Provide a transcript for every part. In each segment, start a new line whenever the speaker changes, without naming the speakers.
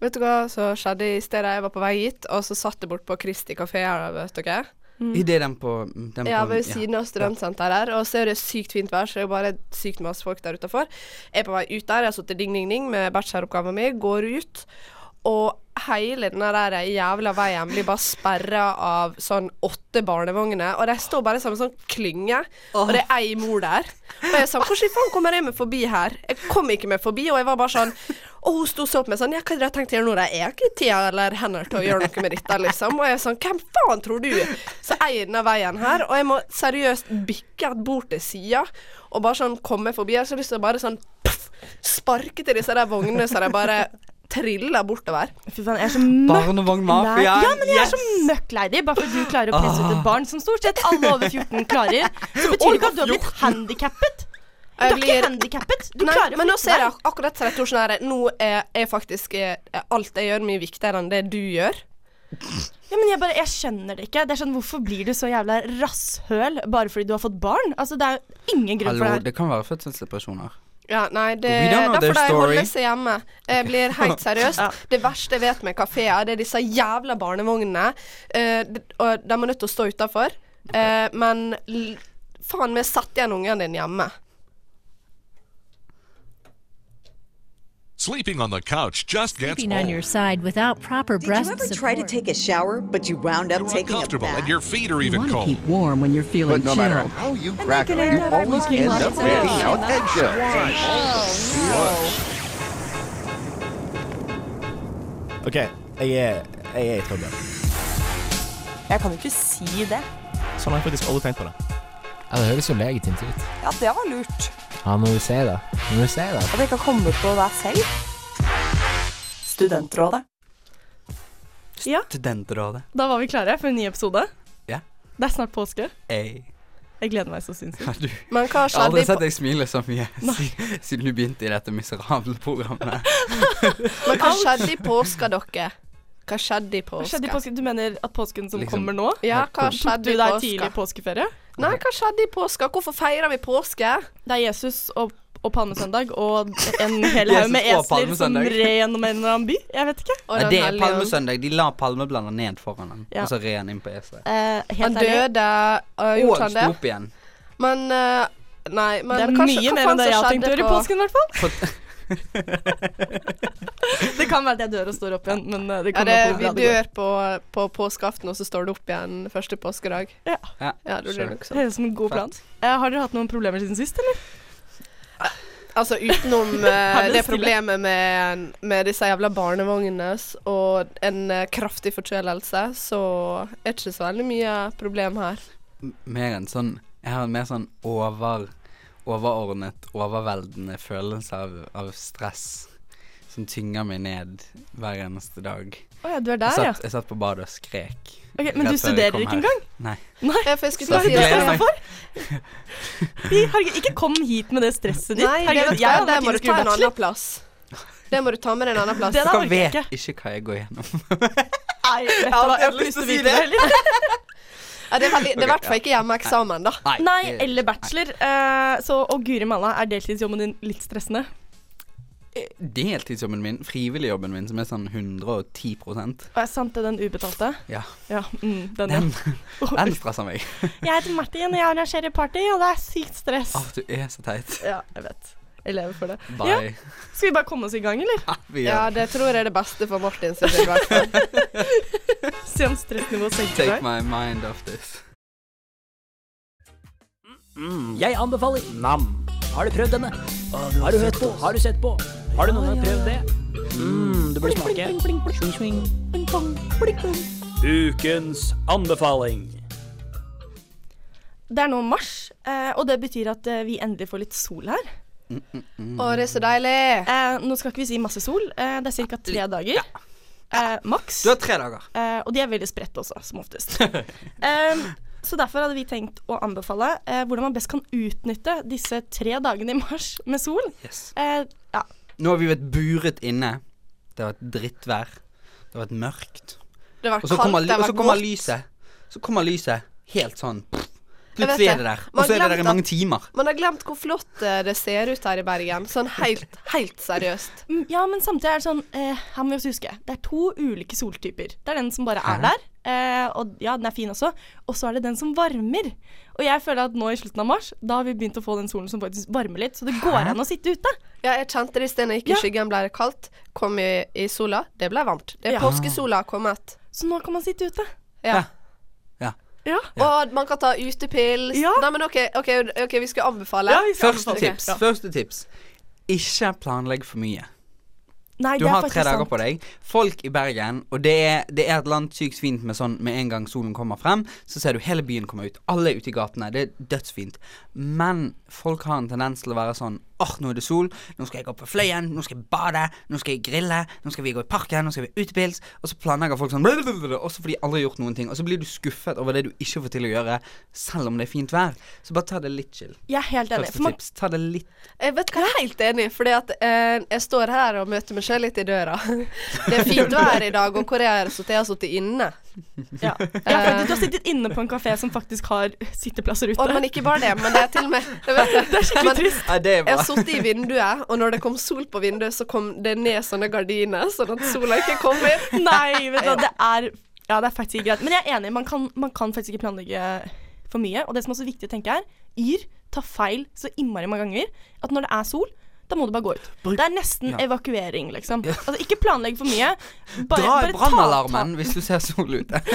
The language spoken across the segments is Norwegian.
Vet du hva som skjedde i stedet jeg var på vei hit, og så satt jeg bort på Kristi kafé her, vet dere.
I det den på den
Mm. Ja,
på-
ved siden av studentsenteret her, og så er det sykt fint vær, så det er bare sykt masse folk der utafor. Jeg er på vei ut der, jeg har sittet ding, ding, ding med bacheloroppgaven min, går ut, og hele den der jævla veien blir bare sperra av sånn åtte barnevogner, og de står bare som en sånn klynge, og det er ei mor der. Og jeg sa hvordan faen kommer jeg meg forbi her? Jeg kom ikke meg forbi, og jeg var bare sånn og hun sto og så på meg sånn, ja, hva er det jeg har tenkt å gjøre nå? da? Jeg har ikke tida eller hender til å gjøre noe med dette, liksom. Og jeg er sånn, hvem faen tror du? Så eier denne veien her, og jeg må seriøst bikke bort til sida, og bare sånn komme forbi. Jeg har så lyst til å bare sånn puff, sparke til disse der vognene, så de bare triller bortover.
Fy faen, jeg er så møkk lei
Barnevognmafia.
Ja, men jeg er så møkk lei dem. Bare fordi du klarer å presse
Ah.
ut et barn som stort sett alle over 14 klarer, så betyr det ikke at du har blitt handikappet. Du er
Jeg
ikke
blir-
handikappet. Du
Nei,
klarer å
men nå
flytte
ser
deg.
jeg akkurat så jeg tror sånn her Nå er, er faktisk er, er alt jeg gjør, mye viktigere enn det du gjør.
Ja, men jeg, bare, jeg skjønner det ikke. Det er sånn, Hvorfor blir du så jævla rasshøl bare fordi du har fått barn? Altså, Det er jo ingen grunn
Hallo,
for det.
det kan være fødselsdepresjoner.
Ja, nei, det
We don't
derfor
know their
de
story.
holder seg hjemme. Jeg blir helt seriøst.
Ja.
Det verste jeg vet med kafeer, det er disse jævla barnevognene. Eh, d- og de er nødt til å stå utafor. men l faen meg, sett igjen ungen din hjemme.
Sleeping on the couch just gets
Sleeping on
old.
your side without proper
Did you
breast
ever
support.
try to take a shower, but you wound up
You're
taking a
uncomfortable
bath?
and your feet are
You
even
want to
cold.
keep warm when you're feeling
But no
chill.
matter how you crack it, you always end up picking out eggshells.
OK, jeg er, jeg er i trøbbel.
Jeg kan jo ikke si det.
Sånn har jeg faktisk aldri tenkt på det.
Ja, det høres jo legitimt ut.
Ja, det var lurt.
Ja, når du sier det. Når du sier det.
At jeg ikke har kommet på det selv. Studentrådet.
Ja,
Studentrådet.
Da var vi klare for en ny episode.
Ja.
Det er snart påske.
Ey.
Jeg gleder meg så sinnssykt.
Ja, du-
Men hva
Jeg har
skjedde,
aldri
i,
sett deg smile så mye siden, siden du begynte i dette miserable programmet.
på- men hva skjedde i påska, dere? Hva skjedde i
Hva skjedde i
påska?
påske? Du mener at påsken som
Liksom-
kommer nå?
Ja, hva
Tok du
skjedde i
deg tidlig
påska?
påskeferie?
Nei, hva skjedde i påska? Hvorfor feirer vi påske?
Det er Jesus og, og palmesøndag og en hel
Jesus
haug med
og
esler som
palmesøndag.
red gjennom en eller annen by. Jeg vet ikke.
Og
Nei,
den
det er
hellige ånd.
palmesøndag. De la palmeblader ned foran den,
Ja.
og så red han inn på eselet.
Eh,
Han døde, øh,
Og
gjorde han
sto
det?
opp igjen.
Men øh, Nei, men
Det er
kanskje,
mye
hva
mer
faen
enn det jeg
som
har tenkt å
skjedde
gjøre i
på-
påsken, i hvert fall.
For,
Det kan være at jeg dør og står opp igjen, men eh, det
Ja,
kommer
det,
an på
vi
hvordan det går.
dør på, på påskeaften, og så står det opp igjen første påskedag.
Ja.
ja,
Ja, det blir
skjønner.
nok
Det
sånn.
høres ut som en god plan. Eh, har dere hatt noen problemer siden sist, eller?
Altså utenom eh,
Han er
det
stille.
problemet med, med disse jævla barnevognene s- og en eh, kraftig forkjølelse, så er det ikke så veldig mye problem her.
M- Mer enn sånn Jeg har en mer sånn over, overordnet, overveldende følelse av, av stress som tynger meg ned hver eneste dag.
Å ja, du er
Jeg
der, ja.
satt, jeg satt på badet og skrek.
Ok,
rett
men du
før jeg
studerer
kom
ikke
her.
engang?
Nei.
Nei.
Ja, for jeg
Så
skulle
Hva Eh, er
til å
det du
si det.
gleder
stressa
meg.
for? I- Herregud, ikke kom hit med det stresset ditt.
Nei, det,
Herregud,
vet du hva,
jeg hadde
det
vært
må du ta en
bachelor.
annen plass. Det må du ta med deg en annen plass.
Det da
Dere
orker jeg
vet
ikke.
ikke hva jeg går gjennom.
Nei, vet du hva, jeg har ikke lyst til å vite det heller.
Ja, det er veldig- det er i hvert fall ikke hjemmeeksamen, da.
Nei,
det-
eller bachelor. Eh, Så, og guri malla, er deltidsjobben din litt stressende?
Deltidsjobben min, frivilligjobben min, som er sånn 110
Å, Er sant det, den ubetalte?
Ja.
Ja, mm, den,
Den,
ja.
den stresser meg.
Jeg heter Martin, og jeg arrangerer party, og det er sykt stress.
Å, du er så teit.
Ja, jeg vet. Jeg lever for det. Ja,
Bye.
skal vi bare komme oss i gang, eller?
Vi
Ja,
gjør
det tror jeg er det beste for Martin sin del, i hvert fall.
Se om stressnivået senker
Take
seg.
my mind off this.
Jeg anbefaler Nam. Har du prøvd denne? Har du hørt på? Har du sett på? Har du noen gang prøvd det? Mm, du burde smake. Swing, swing. Ukens anbefaling.
Det er nå mars, eh, og det betyr at eh, vi endelig får litt sol her.
Å, det er så deilig.
Eh, Nå skal ikke vi si masse sol, eh, det er ca. tre dager. Eh, Maks.
Du har tre dager.
Eh, og de er veldig spredt også, som oftest. Em, så derfor hadde vi tenkt å anbefale eh, hvordan man best kan utnytte disse tre dagene i mars med sol.
Yes.
Eh, ja,
Nå har vi vært buret inne. Det har vært drittvær. Det har vært mørkt.
Det var
Og så kommer,
kaldt,
ly-
det
og
var
så kommer
godt.
lyset. Så kommer lyset helt sånn pff, Plutselig
Jeg
er
vet
det der.
Man
Og så er det
glemte
der i
at-
mange timer.
Man har glemt hvor flott eh, det ser ut her i Bergen. Sånn helt, helt seriøst.
Mm, Ja, men samtidig er det sånn eh, Her må vi også huske Det er to ulike soltyper. Det er den som bare er
Hæ?
der, eh, og ja, den er fin også. Og så er det den som varmer. Og jeg føler at nå i slutten av mars, da har vi begynt å få den solen som faktisk varmer litt. Så det går an å sitte ute.
Ja, jeg kjente det i sted når jeg gikk
Ja.
i skyggen, ble det kaldt. Kom i, i sola, det ble varmt. Det er
Ja.
påskesola har kommet.
Så nå kan man sitte ute.
Ja.
Ja.
Ja.
Og man kan ta utepils.
Ja.
Nei, men OK, ok, ok, vi skulle anbefale.
Ja, vi skal
Første
anbefale.
tips.
Ja.
Første tips. Ikke planlegg for mye.
Nei,
Du
det er
har
faktisk
tre dager
sant.
på deg. Folk i Bergen, og det er, det er et land sykt fint med sånn med en gang solen kommer frem, så ser du hele byen komme ut. Alle er ute i gatene. Det er dødsfint. Men folk har en tendens til å være sånn åh, nå er det sol. Nå skal jeg gå på Fløyen. Nå skal jeg bade. Nå skal jeg grille. Nå skal vi gå i parken. Nå skal vi utepils. Og så planlegger folk sånn blablabla, også fordi de aldri har gjort noen ting. Og så blir du skuffet over det du ikke får til å gjøre, selv om det er fint vær. Så bare ta det litt chill.
Jeg er helt enig. For
Første
man,
tips. Ta det litt
Jeg Eh, vet hva jeg er helt enig, fordi at eh, jeg står her og møter meg selv litt i døra. Det er fint vær i dag, og hvor jeg har sittet, jeg har sittet inne.
ja. ja, for du har sittet inne på en kafé som faktisk har sitteplasser ute.
Og, men ikke bare det, men det er til og med jeg vet Det er skikkelig trist.
Nei, det er
Jeg
bra.
satt i vinduet, og når det kom sol på vinduet, så kom det ned sånne gardiner, sånn at sola ikke kom inn.
Nei, vet du hva, det er Ja, det er faktisk ikke greit. Men jeg er enig, man kan, man kan faktisk ikke planlegge for mye. Og det som også er viktig å tenke, er yr tar feil så innmari mange ganger at når det er sol, da må du bare gå ut. Det er nesten
Ja.
evakuering, liksom. Altså, ikke planlegg for mye. Bare,
Dra i
bare ta-
brannalarmen hvis du ser sol ute.
ta-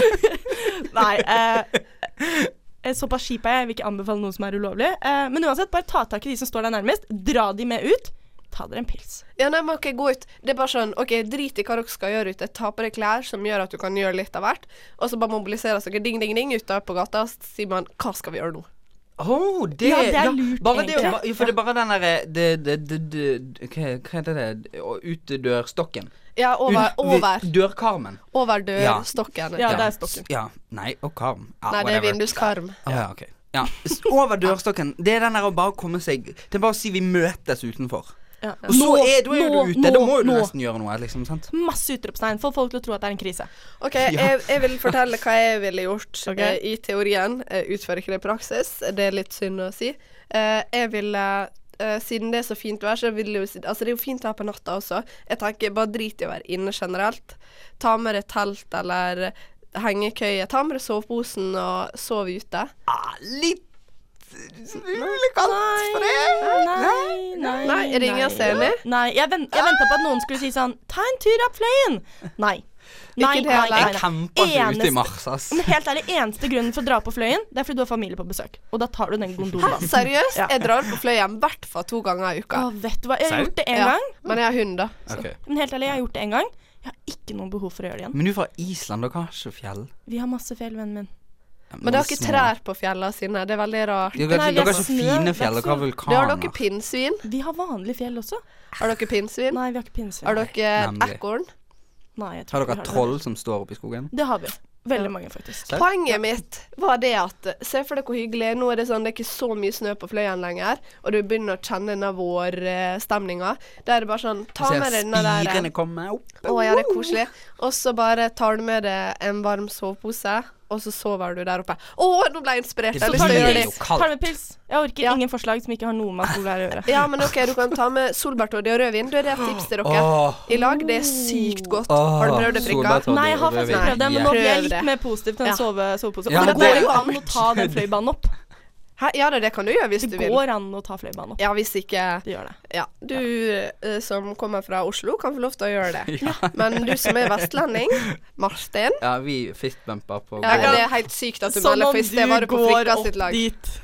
Nei. Eh, eh, såpass kjip er jeg, jeg vil ikke anbefale noe som er ulovlig. Eh, men uansett, bare ta tak i de som står deg nærmest. Dra de med ut. Ta dere en pils.
Ja, nei, men ok, gå ut. Det er bare sånn, ok, drit i hva dere skal gjøre ute. Ta på deg klær som gjør at du kan gjøre litt av hvert. Og så bare mobiliseres dere ding, ding, ding ute på gata, og så sier man hva skal vi gjøre nå?
Oh, det,
Ja, det er lurt,
bare det, å
egentlig.
ba- jo, for det er bare den derre det, det, det, det, hva, hva heter det Å, Utedørstokken.
Ja, over,
Ut-
over,
Dørkarmen.
over
Ja.
dørstokken.
Ja, det er stokken.
Ja. Nei, og karm. Ja,
Nei, det er
whatever.
vinduskarm.
Å, ja, ok. Ja. s- Over dørstokken. Det er den der å bare komme seg Det er bare å si vi møtes utenfor.
Ja.
Og så er, da er du ute. da må jo du
nå.
nesten gjøre noe, liksom. sant?
Masse utropstegn. Få folk til å tro at det er en krise.
OK, jeg, jeg vil fortelle hva jeg ville gjort
Ok.
eh, i teorien. Jeg utfører ikke det i praksis, det er litt synd å si. Eh, jeg ville eh, siden det er så fint vær, så vil jeg jo si Altså, det er jo fint vær på natta også. Jeg tenker bare drit i å være inne generelt. Ta med deg telt eller hengekøye. Ta med deg soveposen og sov ute.
Ah, litt Ulikant for
Nei,
det.
nei, nei.
Nei, er det ingen som er enig?
Nei, jeg, vent, jeg venta på at noen skulle si sånn Ta en tur opp fløyen! Nei. Nei,
Ikke det
nei,
heller.
nei,
Jeg
nei.
campa ikke ute
Eneste-
i mars, ass.
Men helt ærlig, eneste grunnen for å dra på fløyen, det er fordi du har familie på besøk. Og da tar du den
Hæ,
gondolen.
seriøst?
Ah. Ja.
Jeg drar på fløyen i hvert fall to ganger i uka.
Å, vet du hva, jeg har
Seriøst?
gjort det én
Ja,
gang.
Men jeg har hund, da. Så.
Ok.
Men helt ærlig, jeg har gjort det én gang. Jeg har ikke noe behov for å gjøre det igjen.
Men du er fra Island, dere har ikke fjell?
Vi har masse fjell, vennen min.
Men det har ikke trær på fjellene sine. Det er veldig rart.
Dere
Nei,
har
vi
ikke, altså. dere har
har
ikke
snø,
fine fjell, dere har
vekseln.
Det har dere
vulkaner.
pinnsvin.
Vi har vanlige fjell også.
Har dere pinnsvin?
Nei, vi har ikke pinnsvin.
Har dere
Nemlig.
ekorn?
Nei, jeg tror
Har
ikke
dere
vi
troll som står oppe i skogen?
Det har vi. Veldig mange, faktisk.
Selv?
Poenget mitt var det at Se for deg hvor hyggelig. Nå er det sånn, det er ikke så mye snø på Fløyen lenger, og du begynner å kjenne denne vårstemninga. Da er det bare sånn Ta
Ser
med deg denne der
spirene komme opp.
Å ja, det er koselig. Og så bare tar du med deg en varm sovepose, og så sover du der oppe. Å, nå ble jeg inspirert.
Det
Jeg har lyst til
blir
å gjøre
jo
det.
kaldt.
Tar med pils. Jeg orker
Ja.
ingen forslag som ikke har noe med alkohol her å gjøre.
Ja, men OK, du kan ta med solbærtoddy og rødvin. Da er det et tips til dere.
Åh.
I lag. Det er sykt godt. Har du prøvd det, Frikka?
solbærtoddy
Nei, jeg har
og
faktisk
rødvin.
prøvd det, men nå
Prøv
blir jeg litt
det.
mer positiv til en
Ja.
sove, sovepose.
Ja,
men det
men
går
det-
jo an å ta den fløibanen opp.
Hæ? Ja da, det kan du gjøre hvis
Det
du vil.
går an å ta fløibanen opp.
Ja, hvis ikke
Det gjør det.
Ja, du eh, som kommer fra Oslo kan få lov til å gjøre det. Men du som er vestlending, Martin
Ja, vi fistbumper på
ja,
gården.
Det er helt sykt at du
Som
melder,
om
for i sted var
du
du på
går
Frikka
opp
sitt lag.
dit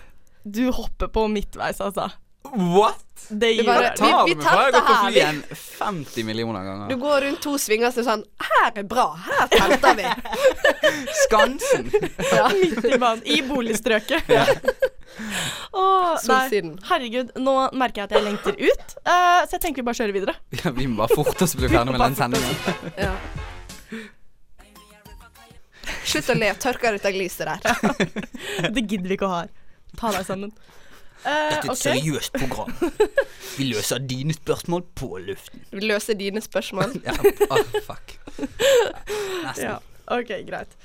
Du hopper på midtveis, altså.
What?!
Det
Du
gjør
bare-
det.
vi-
Tar
vi
vi fra? Jeg har gått på
tester her, vi.
flyen 50 millioner
Du
ganger.
går rundt to svinger og sånn Her er bra, her telter vi.
Skansen!
Midt i banen. I boligstrøket. Åh, nei.
Solsiden.
Herregud, nå merker jeg at jeg lengter ut, eh, så jeg tenker vi bare kjører videre.
Ja, vi må bare forte oss å bli ferdig med den sendingen.
Ja. Slutt å le. Tørk deg ut av gliset der.
Det gidder vi ikke å ha her. Ta deg sammen. Eh, ok.
seriøst program. Vi løser dine spørsmål på luften.
Vi løser dine spørsmål.
Ja, ah, fuck. Nesten.
Ja, ok, greit.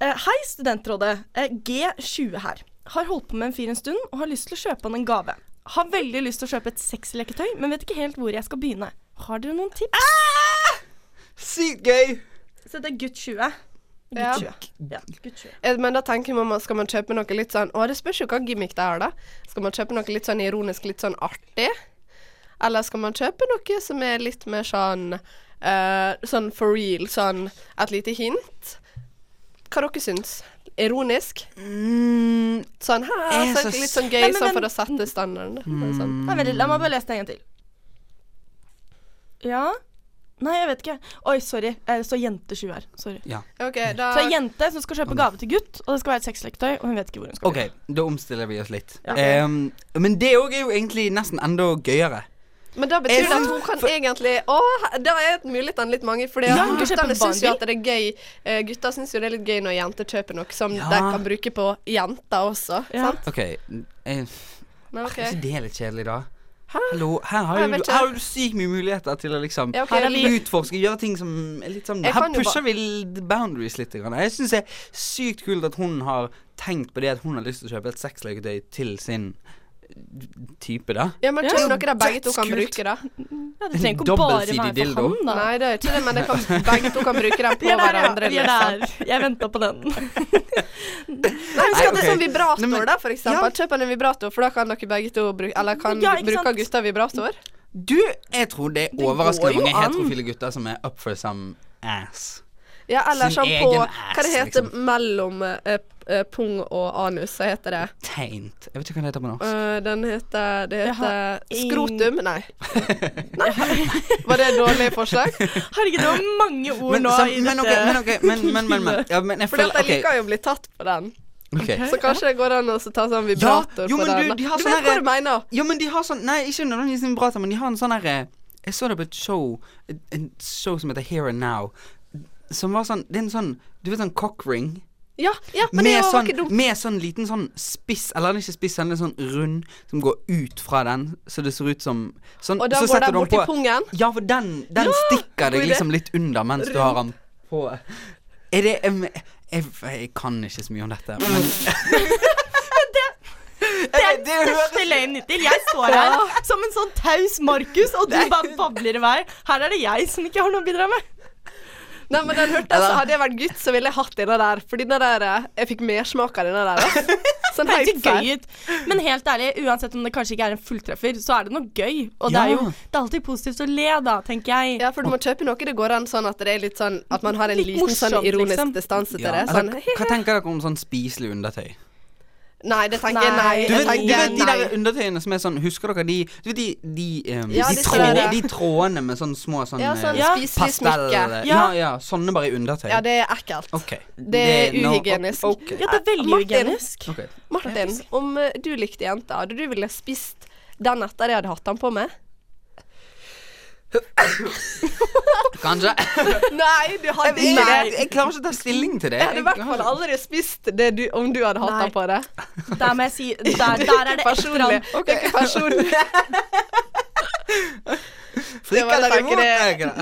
Eh, hei, Studentrådet. Eh, G20 her. Har holdt på med en fyr en stund og har lyst til å kjøpe han en gave. Har veldig lyst til å kjøpe et sexleketøy, men vet ikke helt hvor jeg skal begynne. Har dere noen tips?
Ah! Sykt gøy!
Så det er gutt 20. Gutt
Ja.
20. Ja, gutt 20.
Eh, Men da tenker man, skal man kjøpe noe litt sånn Å, det spørs jo hva gimmick det er, da. Skal man kjøpe noe litt sånn ironisk, litt sånn artig? Eller skal man kjøpe noe som er litt mer sånn eh, Sånn for real, sånn et lite hint? Hva dere syns? Ironisk?
Mm.
Sånn her,
Jeg
så
syns-
litt sånn gøy
Nei, men
sånn
den-
for å sette standarden. Sånn.
Nei, vent, litt, la meg bare lese det en gang til. Ja Nei, jeg vet ikke. Oi, sorry. Eh, Det står jente 20 her. Sorry.
OK, da
Så ei jente som skal kjøpe gave til gutt, og det skal være et sexleketøy, og hun vet ikke hvor hun skal.
OK, da omstiller vi oss litt.
Ja.
Ehm, men det òg er jo egentlig nesten enda gøyere.
Men da betyr
Jeg
det at
syns-
hun kan egentlig Å, da er mulighetene litt mange. For
Ja, hun kan kjøpe
guttene
en
syns jo at
barnbil.
det er gøy eh, Gutta syns jo det er litt gøy når jenter kjøper noe som
Ja.
de kan bruke på jenter også.
Ja.
Sant?
OK, eh,
Men
er
OK.
ikke det litt kjedelig, da?
Hæ?
Hallo, her har,
Nei,
jo,
jeg vet
du-
ikke.
her har du sykt mye muligheter til å liksom
Ja, ok, Her er vi-
utforske, gjøre ting som er litt sånn
Jeg
Her
kan jo
pusher vi l- boundaries litt. Grann. Jeg syns det er sykt kult at hun har tenkt på det at hun har lyst til å kjøpe et sexleketøy til sin eh, type, da.
Ja, men
Ja.
kjøp noe de begge to kan
Dødskult.
bruke, da.
Ja, det trenger ikke
Dobbelsidig
bare være for
dildo.
han, da.
Nei, det er ikke det, men de kan, begge to kan bruke den på
Vi er der, ja.
hverandre.
Vi er
Liksom.
der. Jeg venta på den.
Nei, men skal
Nei,
det
ok.
sånn vibrator,
Nei, men-
da, for eksempel? Kjøp en vibrator, for da kan dere begge to bruke Eller kan
Ja, ikke
bruke
sant?
gutta vibrator?
Du, jeg tror det er
går
overraskende
jo
mange
an.
heterofile gutter som er up for some ass.
Ja, eller
Sin
sånn på
egen
Hva det
ass,
heter
liksom.
mellom eh, p- eh, pung og anus, så heter det.
Taint. Jeg vet ikke hva det heter på norsk.
Øh, den heter Det
Jeg har
heter
ing-
Skrotum? Nei. Nei. Var det et dårlig forslag?
Herregud, det var mange ord
Men,
nå
sam,
i
men,
dette.
ok, men, ok, men, men, men, men, ja, men jeg
For
føler
jeg
ok,
liker jo å bli tatt på den.
ok.
Så kanskje det går an å så ta sånn vibrator
jo,
på
men
den.
du, de har
du
sånn
vet hva
her-
du mener?
Ja, men de har sånn Nei, ikke nødvendigvis en brater, men de har en sånn herre Jeg så det på et show et- En show som heter Here and Now. Som var sånn Det er en sånn Du vet sånn cockring?
Ja, ja men det
Med,
er jo
sånn,
ikke dumt.
med sånn liten sånn spiss Eller den er ikke spiss, den er sånn rund som går ut fra den, så det ser ut som sånn,
Og da
så
går
setter
den
du
bort i
på-
pungen.
Ja, for den, den stikker deg
god idé.
liksom litt under mens du har den på. Er det em, jeg, jeg kan ikke så mye om dette, men
Det er den største løgnen hittil. Jeg står her som en sånn taus Markus, og du bare babler i vei. Her er det jeg som ikke har noe å bidra med.
Nei, men den hørte jeg, så Hadde jeg vært gutt, så ville jeg hatt denne der. For denne der eh, Jeg fikk mersmak av denne der. ass. Sånn
Det
helt
høres
gøy.
gøy ut. Men helt ærlig, uansett om det kanskje ikke er en fulltreffer, så er det noe gøy. Og det
Ja.
er jo det er alltid positivt å le, da, tenker jeg.
Ja, for du må kjøpe noe det går an sånn at det er litt sånn At man har en
Litt
liten sånn
morsomt,
ironisk
liksom.
distanse til
ja.
det.
altså,
Sånn
Hva tenker dere om sånn spiselig undertøy?
Nei, det tenker jeg nei.
Nei.
Du
Jeg
vet, du
tenker
vet de
nei.
der undertøyene som er sånn Husker dere de Du vet de De, em,
Ja,
de,
disse
tråd,
der-
de trådene med sånn små sånn,
Ja, sånn
eh,
Ja.
spiselig
pastell
smykke.
ja. ja,
Ja.
Sånne bare i undertøy.
Ja, det er ekkelt.
OK.
Det er
no-
uhygienisk.
ok.
Ja, det er veldig
Martin.
hygienisk.
Ok.
Martin, om eh, du likte jenta, hadde du ville spist den etter jeg hadde hatt den på meg?
Kanskje.
Nei, du hadde
Jeg,
ikke
jeg,
det.
jeg klarer ikke å ta stilling til det.
Jeg hadde i hvert fall aldri spist det du, om du hadde hatt
Nei.
den på deg.
Der må jeg si Der, der er det et eller
personlig.
annet.
Det er ikke personlig. Det
Frikk
var
eller
det
imot?
jeg
er ikke det.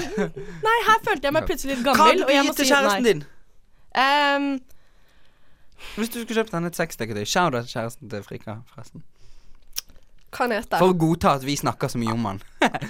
Nei, her følte jeg meg plutselig litt
Hva
gammel.
hadde
Og
du
jeg må
gitt til
si
kjæresten
nei.
din?
Ehm,
Hvis du skulle kjøpt henne et sexleketøy, shout out til kjæresten til Frikka, forresten.
Hva heter
For
den?
å godta at vi snakker så mye om han.
nei, vi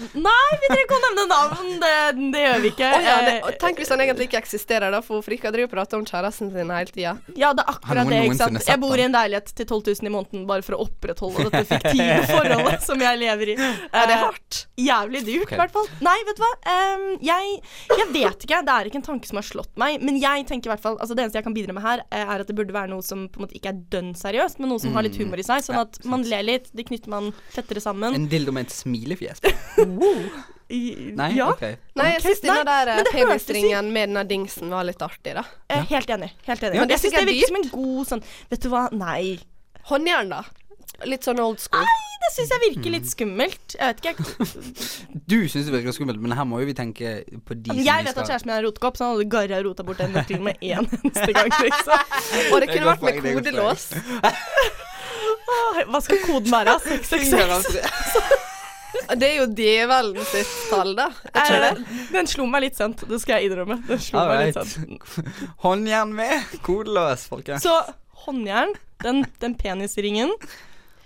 trenger ikke å nevne navn. Det, det gjør vi ikke.
Å ja, det,
Eh,
og tenk hvis han egentlig ikke eksisterer, da, for Frikka driver og prater om kjæresten sin hele tida.
Ja, det er
Har
akkurat
noen
det. ikke
noensinne
sant?
sett
Jeg bor i en leilighet til 12 000 i måneden bare for å opprettholde dette fiktive forholdet som jeg lever i.
Er det
Eh,
hardt?
Jævlig dyrt, i
Ok.
hvert fall. Nei, vet du hva. Em, jeg, jeg vet ikke. Det er ikke en tanke som har slått meg. Men jeg tenker i hvert fall, altså det eneste jeg kan bidra med her, eh, er at det burde være noe som på en måte ikke er dønn seriøst, men noe som har litt humor i seg. Sånn
Ja,
at man ler litt, det knytter man tettere sammen.
En dildo med et smilefjes.
I-
Nei?
ja. eh,
OK.
Nei, jeg
Ok.
syns denne
Nei,
der eh,
men det hørtes ut-
penisringen med denne dingsen var litt artig, da.
Eh, Helt enig. helt enig.
Ja,
men
det
jeg syns
synes
det
jeg er
virker som en god sånn Vet du hva, nei.
Håndjern, da. Litt sånn old school.
Nei, det syns jeg virker litt skummelt. Jeg vet ikke. Jeg,
Du syns det virker skummelt, men her må jo vi tenke på de som
Altså, jeg
vi
vet at
skal
kjæresten min er rotekopp, så han hadde garra rota bort den nøkkelen med én eneste gang. Liksom.
Og det
Det er
kunne
godt
vært med
poeng, det er godt
kodelås.
Åh, Hva skal koden være? 666?
Det er jo djevelen sitt tall, da.
Eh, Den slo meg litt sent, det skal jeg innrømme. Den slo meg litt sent.
Håndjern med kodeløs, folkens.
Så håndjern, den, den penisringen.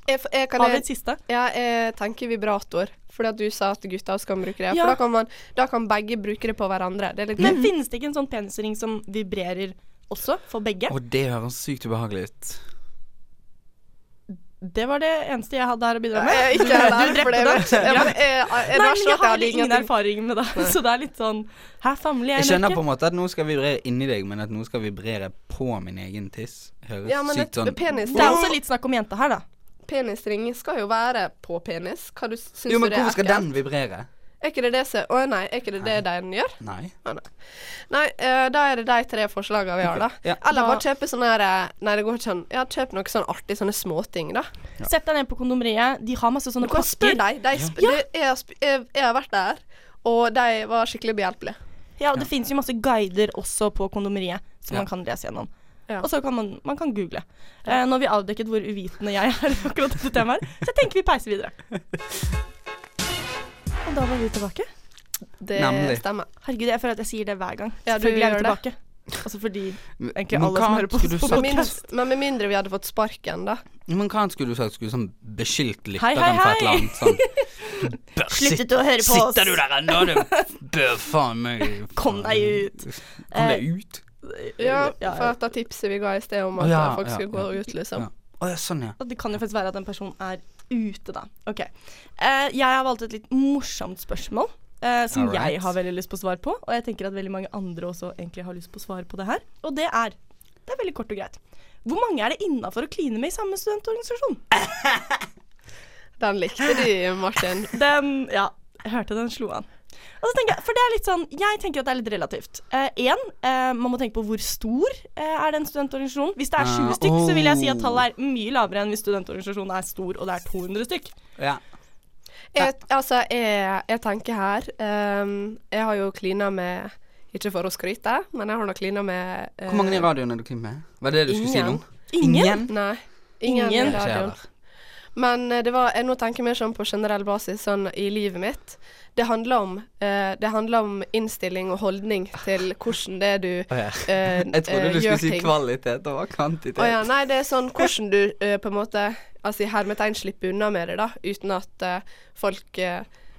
Jeg, jeg, kan
Har vi
jeg,
et siste?
ja, jeg tenker vibrator, fordi at du sa at gutta også kan bruke det.
Ja.
For da kan, man, da kan begge bruke det på hverandre. Det er litt Mm.
Men finnes det ikke en sånn penisring som vibrerer også, for begge?
Og det høres sykt ubehagelig ut.
Det var det eneste jeg hadde her å bidra med.
Jeg er Eh, ikke
Du-
der,
du
for det er
drepte den.
mørkt. Ja, men eh, jeg, jeg, jeg,
Nei, men
varsler
jeg
at jeg
har
hadde
ingen
ingenting.
erfaring med det, så det er litt sånn Her famler jeg
Jeg
i
skjønner på
mørket.
en måte at noe skal vibrere inni deg, men at noe skal vibrere på min egen tiss, høres
Ja, men
sykt
et-
sånn
penis,
Det er også litt snakk om jenta her, da.
penisring skal jo være på penis. Hva du syns
Jo, men
du det er
hvorfor skal
ekkelt?
den vibrere?
Er ikke det det som Å nei, er ikke det det den gjør?
Nei.
Å, nei. nei, eh, da er det de tre forslagene vi har, da.
Ja.
Eller bare kjøpe sånne her eh, Nei, det går ikke sånn Ja, kjøp noe sånn artig, sånne småting, da.
Sett deg ned på kondomeriet. De har masse
Du
sånne
kan spørre
pakker.
dem. De sp det- jeg, har sp jeg, jeg har vært der, og de var skikkelig behjelpelige.
Ja, og det finnes jo masse guider også på kondomeriet som
Ja.
man kan lese gjennom.
Ja.
Og så kan man, man kan google. Eh, nå har vi avdekket hvor uvitende jeg er i akkurat dette temaet, her, så jeg tenker vi peiser videre. Og da var vi tilbake.
Det
Nemlig.
stemmer.
Herregud, jeg føler at jeg sier det hver gang.
Ja, du
Selvfølgelig er vi
gjør
tilbake. Altså fordi
Men-
egentlig
men hva
alle som hører på
skulle
oss
du
på
sagt?
Men, minst, men med mindre vi hadde fått sparken, da.
Men hva annet skulle du sagt? Skulle du sånn beskyldt
Hei,
lytteren
hei,
for et eller
hei.
annet sånn? Bør sit-
å høre
Sitter du der ennå, du? Bør faen meg
Kom deg ut. Eh,
Kom deg ut?
Ja,
Ja,
for at det tipset vi ga i sted om
Å,
at
ja,
eh, folk
ja,
skulle
ja.
gå ut, liksom.
Ja. Å ja, sånn, ja.
Og det kan jo faktisk være at en person er ute, da. Ok. Eh, jeg har valgt et litt morsomt spørsmål. eh, som
Alright.
jeg har veldig lyst på svar på, og jeg tenker at veldig mange andre også egentlig har lyst på svar på det her. Og det er Det er veldig kort og greit. Hvor mange er det innafor å kline med i samme studentorganisasjon?
Den likte de, Martin.
Den Ja, jeg hørte den slo an. Og så tenker jeg, for det er litt sånn, jeg tenker at det er litt relativt. Én, man må tenke på hvor stor eh, er den studentorganisasjonen. Hvis det er 20
Ah,
stykk, så vil jeg si
oh.
at tallet er mye lavere enn hvis studentorganisasjonen er stor og det er 200 stykk.
ja.
Jeg, altså, jeg, jeg tenker her ehm, Jeg har jo klina med Ikke for å skryte, men jeg har nå klina med eh,
Hvor mange i radioen er du klint med? Var det det du skulle si nå?
Ingen.
Ingen?
Nei. Ingen,
Ingen?
i
Ikke jeg
radioen.
heller.
Men eh, det var, jeg nå tenker mer sånn på generell basis, sånn i livet mitt. Det handler om, eh, det handler om innstilling og holdning til hvordan det er du eh,
Jeg trodde
eh,
du
gjør
skulle si
ting.
kvalitet og kvantitet.
Å ja, nei, det er sånn hvordan du eh, på en måte Altså i hermetegn slipper unna med det, da, uten at eh, folk eh,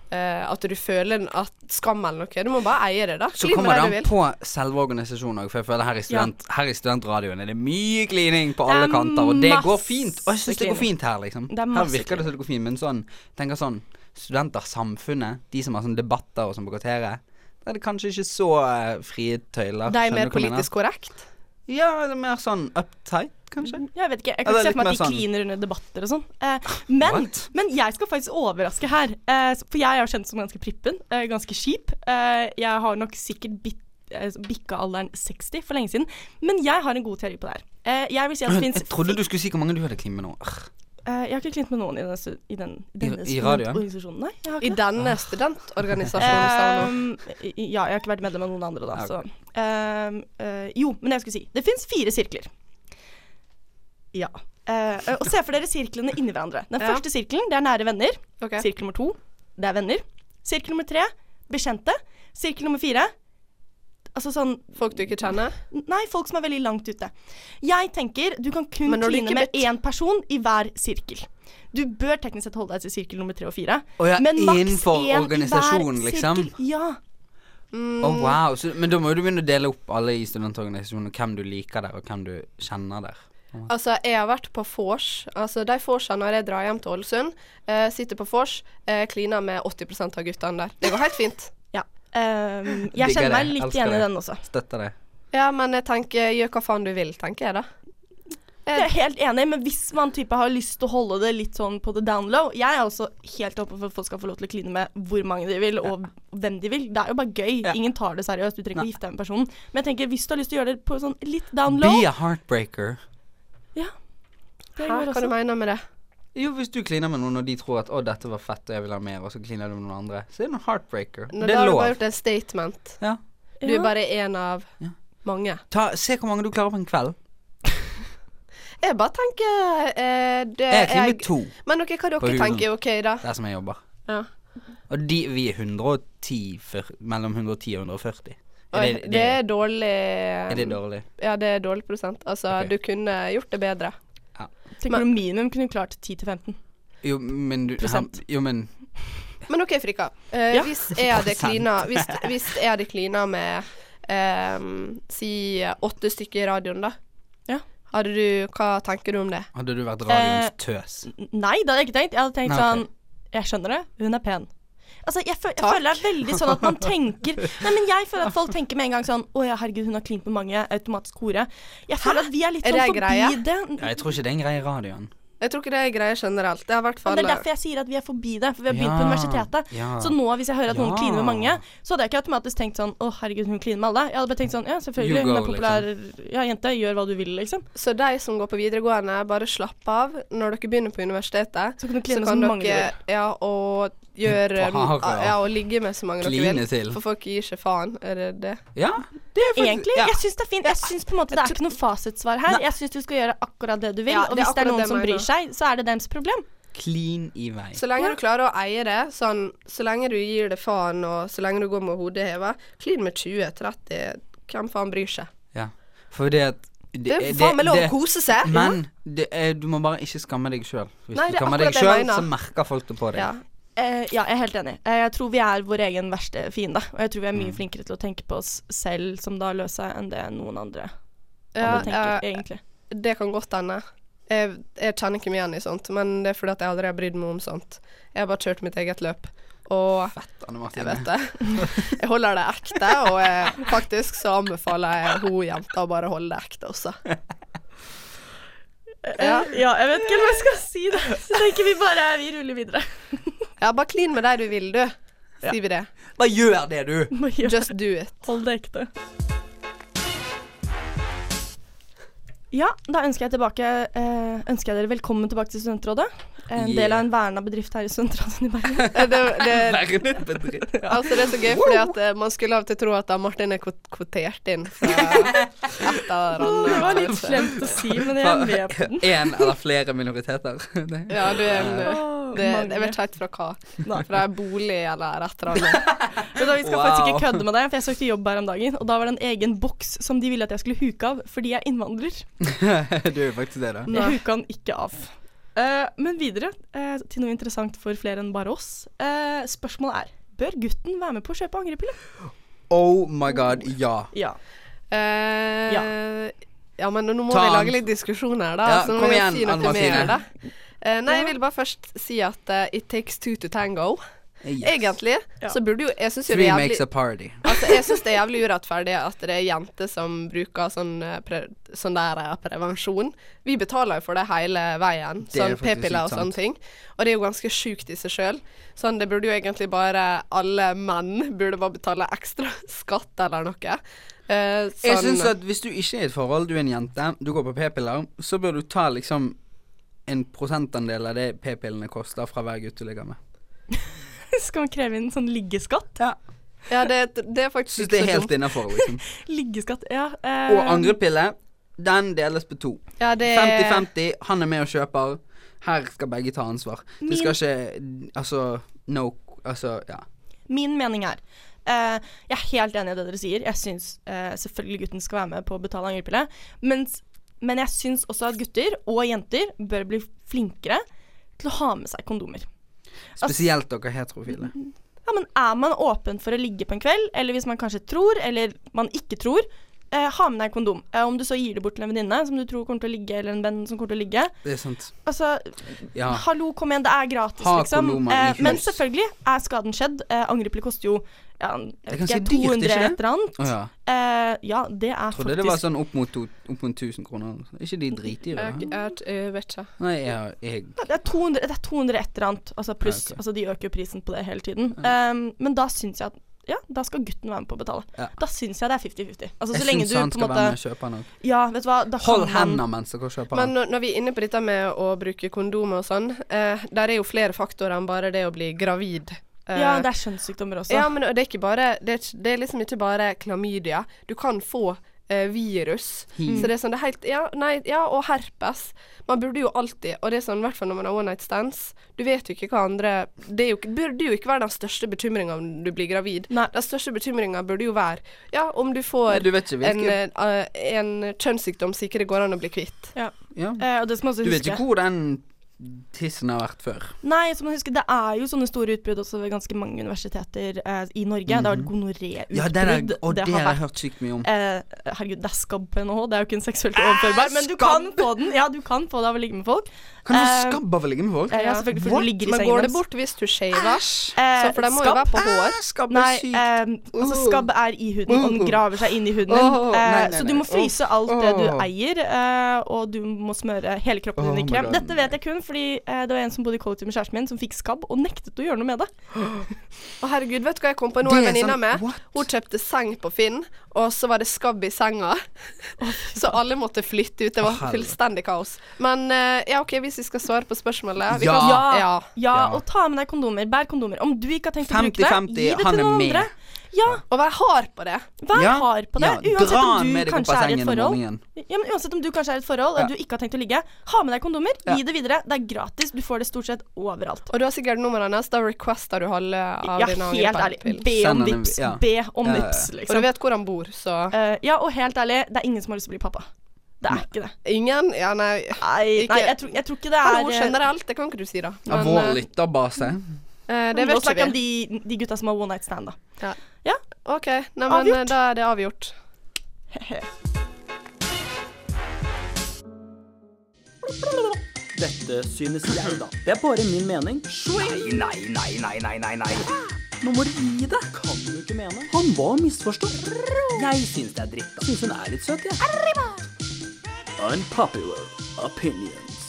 eh, At du føler at skam eller noe. Du må bare eie det, da.
Så
Klin
kommer
med det
det an på selve organisasjonen òg, for jeg føler her i, student, her i studentradioen er det mye klining på
Det er
alle kanter, og det
masse
går fint. Og jeg syns det går
klining.
fint her, liksom.
Det er
Her
masse
virker det som det går fint, men sånn, jeg tenker sånn Studentersamfunnet, de som har sånne debatter og sånn på kvarteret, da er det kanskje ikke så eh, frie tøyler.
De er mer
skjønner du hva jeg mener?
politisk korrekt.
Ja, det er mer sånn uptight, kanskje.
Jeg vet ikke, jeg
Ja,
kan
det
ikke
er
se for meg
litt
at de
mer sånn-
kliner under debatter og sånn. Eh, men,
What?
men jeg skal faktisk overraske her. Eh, for jeg er jo kjent som ganske prippen, eh, ganske kjip. Eh, jeg har nok sikkert bitt, eh, bikka alderen 60 for lenge siden. Men jeg har en god teori på det her. Eh, jeg vil si at det
Jeg
finnes
trodde du skulle si hvor mange du hadde klint med nå. Arr.
Eh, Jeg har ikke klint med noen i, den, stu- i, den,
I-
denne
i radioen?
studentorganisasjonen. Nei, jeg
I
har ikke det.
Ah.
denne studentorganisasjonen, sa hun nå.
Ehm, i- ja, jeg har ikke vært medlem av noen andre, da. Så. Ehm, eh, jo, men jeg skulle si Det fins fire sirkler. Ja. Eh, og se for dere sirklene inni hverandre. Den
Ja.
første sirkelen, det er nære venner.
Ok.
Sirkel nummer to, det er venner. Sirkel nummer tre, bekjente. Sirkel nummer fire Altså sånn
Folk du ikke kjenner.
Nei, folk som er veldig langt ute. Jeg tenker du kan kun
Men når du
kline
ikke
med
vet-
én person i hver sirkel. Du bør teknisk sett holde deg til sirkel nummer tre og fire.
Å ja,
men maks
innenfor
én i hver
organisasjonen, liksom?
sirkel. Ja.
Å, wow. Så, men da må jo du begynne å dele opp alle i studentorganisasjonen, og hvem du liker der, og hvem du kjenner der.
Altså, jeg har vært på vors. Altså, de vorsene når jeg drar hjem til Ålesund, eh, sitter på vors, eh, kliner med 80 av guttene der. Det går helt fint.
Ja. Ehm,
Digger
jeg kjenner meg
det.
litt
Elsker
igjen i
det.
den også.
Støtter det.
Ja, men jeg tenker gjør hva faen du vil, tenker jeg da.
Jeg er helt enig, men hvis man type har lyst til å holde det litt sånn på the down low Jeg er også helt oppe for at folk skal få lov til å kline med hvor mange de vil, og hvem de vil. Det er jo bare gøy.
Ja.
Ingen tar det seriøst. Du trenger ikke å gifte deg med personen. Men jeg tenker, hvis du har lyst til å gjøre det på sånn litt down low
Be a heartbreaker.
det
Hæ,
går
hva du
også.
mener med det?
Jo, hvis du kliner med noen og de tror at 'å, dette var fett og jeg vil ha mer', og så kliner du med noen andre, så er det en heartbreaker.
Nå,
det
da
er
har du
lov.
bare gjort en statement.
Ja.
Du
Ja.
er bare en av
Ja.
mange.
Ta, se hvor mange du klarer på en kveld.
Jeg bare tenker eh, det
Jeg har klint med
jeg-
to
Men ok, hva
På
dere
huden.
tenker, OK, da?
der som jeg jobber.
Ja.
Og de, vi er 110, for, mellom 110 og 140.
Oi,
Er det-
det, er dårlig
Er det dårlig?
Ja, det er dårlig prosent. Altså,
Ok.
du kunne gjort det bedre.
Tenker du minimum kunne klart 10-15?
Jo, men du
Prosent.
her- Jo, men
Men OK, Frikka. Eh,
Ja.
Hvis jeg hadde
Prosent.
klina Hvis, hvis jeg hadde klina med ehm, si åtte stykker i radioen, da.
Ja.
Hadde du Hva tenker du om det?
hadde du vært
Eh,
radioens tøs?
N- Nei, det hadde jeg ikke tenkt. Jeg hadde tenkt
Nei,
sånn
ok.
Jeg skjønner det, hun er pen. Altså, jeg, føl jeg føler det er veldig sånn at man tenker Nei, men jeg føler at folk tenker med en gang sånn Å ja, herregud, hun har klint med mange. Automatisk hore. Jeg føler at vi er litt
Er
sånn
det
forbi
greie?
det.
Ja, jeg tror ikke det er en greie i radioen.
Jeg tror ikke det er greier generelt. Det er i hvert
Men
fall
det er derfor jeg sier at vi er forbi det, for vi har
Ja,
begynt på universitetet.
ja.
Så nå, hvis jeg hører at noen
Ja.
kliner med mange, så hadde jeg ikke automatisk tenkt sånn Å, herregud, hun kliner med alle. Jeg hadde bare tenkt sånn Ja, selvfølgelig,
You
hun
go, liksom.
er populær ja, jente. Gjør hva du vil, liksom.
Så de som går på videregående, bare slapp av når dere begynner på universitetet.
Så kan du kline med så mange du
ja, og gjøre
Bare.
Ja, og ligge med så mange
Kline
dere vil.
til.
For folk gir ikke faen. Er det det?
Ja, det er faktisk
Egentlig.
ja.
Jeg syns det er fint. Jeg synes på en måte Det er ikke noe fasitsvar her. Jeg syns du skal gjøre akkurat det du vil.
Ja,
og
det er
hvis det er
akkurat
noen
det
som
jeg
bryr
mener.
seg, så er det deres problem.
Clean i vei.
Så lenge du klarer å eie det, sånn, så lenge du gir det faen, og så lenge du går med hodet heva, klin med 20-30, hvem faen bryr seg?
Ja. For det at det,
Det er faen meg lov å kose seg. Mhm.
Men det er, du må bare ikke skamme deg sjøl. Hvis
Nei,
du
det er
skammer
akkurat
deg
det jeg
sjøl,
mener.
så merker folk det på deg.
Ja.
Eh, ja, jeg er helt enig. Eh, jeg tror vi er vår egen verste fiende. Og jeg tror vi er mye flinkere til å tenke på oss selv som da løse, enn det noen andre
Ja,
alle tenker,
eh,
egentlig.
det kan godt hende. Jeg, jeg kjenner ikke meg igjen i sånt, men det er fordi at jeg aldri har brydd meg om sånt. Jeg har bare kjørt mitt eget løp. Og
Anne
jeg
Martine.
vet det. Jeg holder det ekte, og jeg, faktisk så anbefaler jeg hun jenta å bare holde det ekte også. Ja,
ja, jeg vet ikke hva jeg skal si da. Så tenker vi bare vi ruller videre.
Ja, bare klin med deg du vil, du. Sier vi det.
Bare gjør det, du!
Just do it.
Hold det ekte. Ja, da ønsker jeg, tilbake, eh, ønsker jeg dere velkommen tilbake til Studentrådet. En del
Yeah.
av en verna bedrift her i Studentrådet i Bergen.
Det, det,
Vernet bedrift.
Altså Det er så gøy, fordi at eh, man skulle av og til tro at da Martin er kvot- kvotert inn fra et av
Det var litt
randene.
slemt å si, men jeg er med på den.
Én eller flere minoriteter. Det-
Ja, du er en eh, det,
mange.
Jeg vet ikke helt fra hva. Fra en bolig eller et eller annet.
Vet du hva, vi skal
Wow.
faktisk ikke kødde med det, for jeg søkte jobb her om dagen, og da var det en egen boks som de ville at jeg skulle huke av fordi jeg er innvandrer.
du er jo faktisk det, da.
Jeg huka den ikke av. Eh, men videre eh, til noe interessant for flere enn bare oss. Eh, spørsmålet er Bør gutten være med på å kjøpe angrepille?
Oh my god, ja.
Ja.
Eh, ja, men nå må
Ta
vi
den.
lage litt diskusjoner, da.
Ja,
så nå
kom
må vi
igjen,
si
Anne
noe
Martine.
mer, da. Eh, nei, jeg vil bare først si at eh, it takes two to tango. Egentlig
Ja.
så burde jo Jeg syns jo det
Three
er jævlig
makes a party.
Altså, jeg syns det er jævlig urettferdig at det er jenter som bruker sånn, eh, pre sånn der eh, prevensjon. Vi betaler jo for det hele veien,
Det er
sånn
faktisk
p-piller og
litt
sånne
sant.
ting. Og det er jo ganske sjukt i seg sjøl. Sånn, det burde jo egentlig bare alle menn burde bare betale ekstra skatt eller noe. Eh,
Jeg
sånn-
synes at Hvis du ikke er i et forhold, du er en jente, du går på p-piller, så bør du ta liksom en prosentandel av det p-pillene koster fra hver gutt du ligger med.
Skal man kreve inn sånn liggeskatt?
Ja, det, det er faktisk
Syns
ikke
det er
så
helt
dumt.
innafor, liksom.
Liggeskatt, ja. eh,
Og angrepille, den deles på to.
Ja, det er
50-50, han er med og kjøper. Her skal begge ta ansvar. Det skal ikke Altså, no Altså, ja.
Min mening er eh, Jeg er helt enig i det dere sier. Jeg syns eh, selvfølgelig gutten skal være med på å betale angrepille. mens- Men jeg syns også at gutter og jenter bør bli flinkere til å ha med seg kondomer.
Spesielt dere heterofile.
Ja, men Er man åpen for å ligge på en kveld, eller hvis man kanskje tror, eller man ikke tror, eh, ha med deg kondom. Eh, om du så gir det bort til en venninne som du tror kommer til å ligge, eller en venn som kommer til å ligge.
Det er sant.
Altså,
Ja.
hallo, kom igjen, det er gratis,
Ha
liksom.
kondomer i
Eh, men
knus.
selvfølgelig er skaden skjedd. Eh, angrepille koster jo ja, jeg vet
ganske
ikke,
dyrt, ikke
200
det?
et eller annet.
Å ja.
Eh, ja, det er
Trodde
faktisk
det var sånn opp mot, to, opp mot 1000 kroner. Er ikke de dritdyre?
Jeg,
da?
jeg, jeg vet ikke.
Nei, jeg, jeg
det er 200, det er 200 et eller annet, altså pluss.
Ja, ok.
altså de øker jo prisen på det hele tiden. Um, men da syns jeg at ja, da skal gutten være med på å betale.
Ja.
Da syns jeg det er 50-50. Altså, så
jeg
lenge
syns
du
han
på en
skal være med
måte
og kjøpe noe.
Ja, vet du hva, da
Hold
kan han
hendene mens dere kjøper.
Men
han.
når, når vi er inne på dette med å bruke kondomer og sånn, eh, der er jo flere faktorer enn bare det å bli gravid. Eh,
Ja, det er skjønnssykdommer også.
Ja, men det er, ikke bare, det, er, ikke- det er liksom ikke bare klamydia. Du kan få eh, virus.
Hiv.
Så det er sånn, det er helt ja, nei, ja, og herpes. Man burde jo alltid, og det er sånn i hvert fall når man har one night stands, du vet jo ikke hva andre Det er jo, ikke- burde jo ikke være den største bekymringa om du blir gravid.
Nei.
Den største bekymringa burde jo være ja, om du får
Du vet ikke
en,
hvilken
eh, en kjønnssykdom som ikke det går an å bli kvitt.
ja.
Eh, og det skal man også
Du vet
huske.
ikke hvor den tissen har vært før.
Nei, som man husker, det er jo sånne store utbrudd også ved ganske mange universiteter eh, i Norge. Det har vært gonoré-utbrudd.
Mhm. Ja, det er, og det, har
vært-
jeg hørt sykt mye om.
Eh, herregud, det er skabb på NHH. Det er jo ikke en seksuelt overførbar, men du kan få den. Ja, du kan få det av å ligge med folk.
Kan du
eh,
skabbe av å ligge med folk?
Eh, ja, selvfølgelig, for du ligger i
Men
sengen
går det
deres.
bort hvis du shaver?
Eh,
Så for det må jo
skabb?
være på hår.
Skabbe
Nei,
sykt.
eh, altså skabb er i huden, og den graver seg inn i huden din.
Åh,
eh,
Oh, nei, nei,
så du
nei.
må fryse alt det du
Åh.
eier, eh, og du må smøre hele kroppen
Åh,
din i
my
krem.
God.
Dette vet jeg kun fordi eh, det var en som bodde i kollektiv med kjæresten min, som fikk skabb og nektet å gjøre noe med det.
Å herregud, vet du hva jeg kom på nå?
Det
En
er
venninne av
sånn,
meg.
what?
Hun kjøpte seng på Finn, og så var det skabb i senga. så alle måtte flytte ut. Det var
Helvete.
fullstendig kaos. Men eh, ja, OK, hvis vi skal svare på spørsmålet vi
Ja.
Kan, ja.
Ja,
Ja.
og ta med deg kondomer. Bær kondomer. Om du ikke har tenkt å bruke det,
50-50,
gi det
han er
til noen
med.
andre. Ja,
Og vær hard på det.
vær
Ja.
hard på det.
Ja,
uansett
dra
om
han med
du
deg opp
kanskje
av
er i
sengen
et
om
forhold.
morgenen.
Ja, men uansett om du kanskje er i et forhold
Ja.
og du ikke har tenkt å ligge, ha med deg kondomer.
Ja.
Gi det videre. Det er gratis. Du får det stort sett overalt.
Og du har sikkert nummeret hennes. Da requester du halve av
Ja,
din
helt ærlig. Be om
Send en-
vips.
ja.
Be om
Ja, ja, ja.
vips,
Og du
liksom.
vet hvor han bor, så
Eh, ja, og helt ærlig, det er ingen som har lyst til å bli pappa. Det er ikke det.
Ingen? Ja, nei.
Nei,
Ikke-
jeg, tror, jeg tror ikke det er eh,
Hallo, generelt. Det kan ikke du si, da.
Av
Men,
vår
eh,
lytterbase.
eh,
Det
det
vil
vet
snakke
ikke
om
vi.
de, de gutta som har one night stand, da.
OK, nei, men eh,
Avgjort.
da er det avgjort.
Dette synes jeg, da. Det er bare min mening. Nei, nei, nei, nei, nei, nei. Nå må du gi deg. Kan du ikke mene. Han var misforstått. Jeg synes det er dritt, da. Synes hun er litt søt, jeg. Unpopular opinions.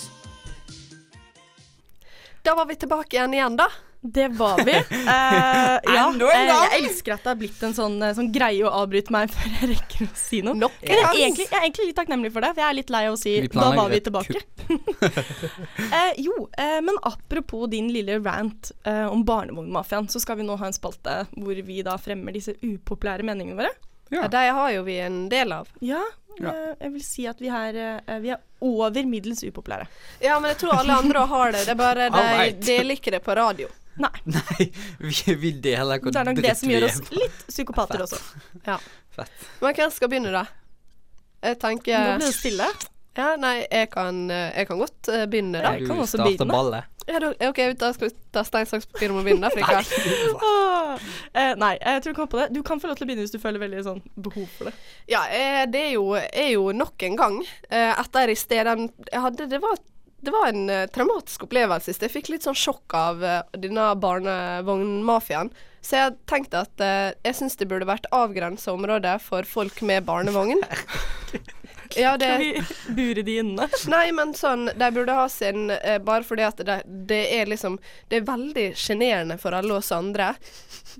Da var vi tilbake igjen igjen, da.
Det var vi. Eh, ja.
Enda en gang.
Eh, jeg elsker at det har blitt en sånn, eh, sånn greie å avbryte meg før jeg rekker å si noe.
Nok
Men jeg, er
en gang.
egentlig, jeg er egentlig litt takknemlig for det, for jeg er litt lei av å si
Vi
da
planlegger
var vi
et
tilbake. Eh, jo, eh, men apropos din lille rant eh, om barnevognmafiaen, så skal vi nå ha en spalte hvor vi da fremmer disse upopulære meningene våre.
Ja. De har jo vi en del av.
Ja,
Ja.
eh, jeg vil si at vi er, eh, vi er over middels upopulære.
Ja, men jeg tror alle andre også har det. Det er bare de
Alright.
deler ikke det på radio.
Nei.
Nei, vi, vi deler hvor
Det er nok
dritt
det som
vi
gjør
er.
oss litt psykopater også.
Men hvem skal begynne, da? Jeg
Nå
tenker
blir det stille.
Ja, nei, jeg kan, jeg kan godt eh, begynne, da.
Jeg
Du
kan også
starter
begynne.
ballet.
Ja, da OK, da skal vi ta stein, saks, papir om å begynne, da, for jeg kan-
Åh. Eh, nei, jeg tror ikke på det. Du kan få lov til å begynne hvis du føler veldig sånn behov for det.
Ja, eh, det er jo, er jo nok en gang eh, etter i sted den jeg hadde Det var, det var en eh, traumatisk opplevelse i sted. Jeg fikk litt sånn sjokk av eh, denne barnevognmafiaen. Så jeg tenkte at eh, jeg syns det burde vært avgrensa område for folk med barnevogn. Ja, det,
Skal vi bure de inne?
Nei, men sånn, de burde ha sin eh, Bare fordi at det, det er liksom Det er veldig sjenerende for alle oss andre.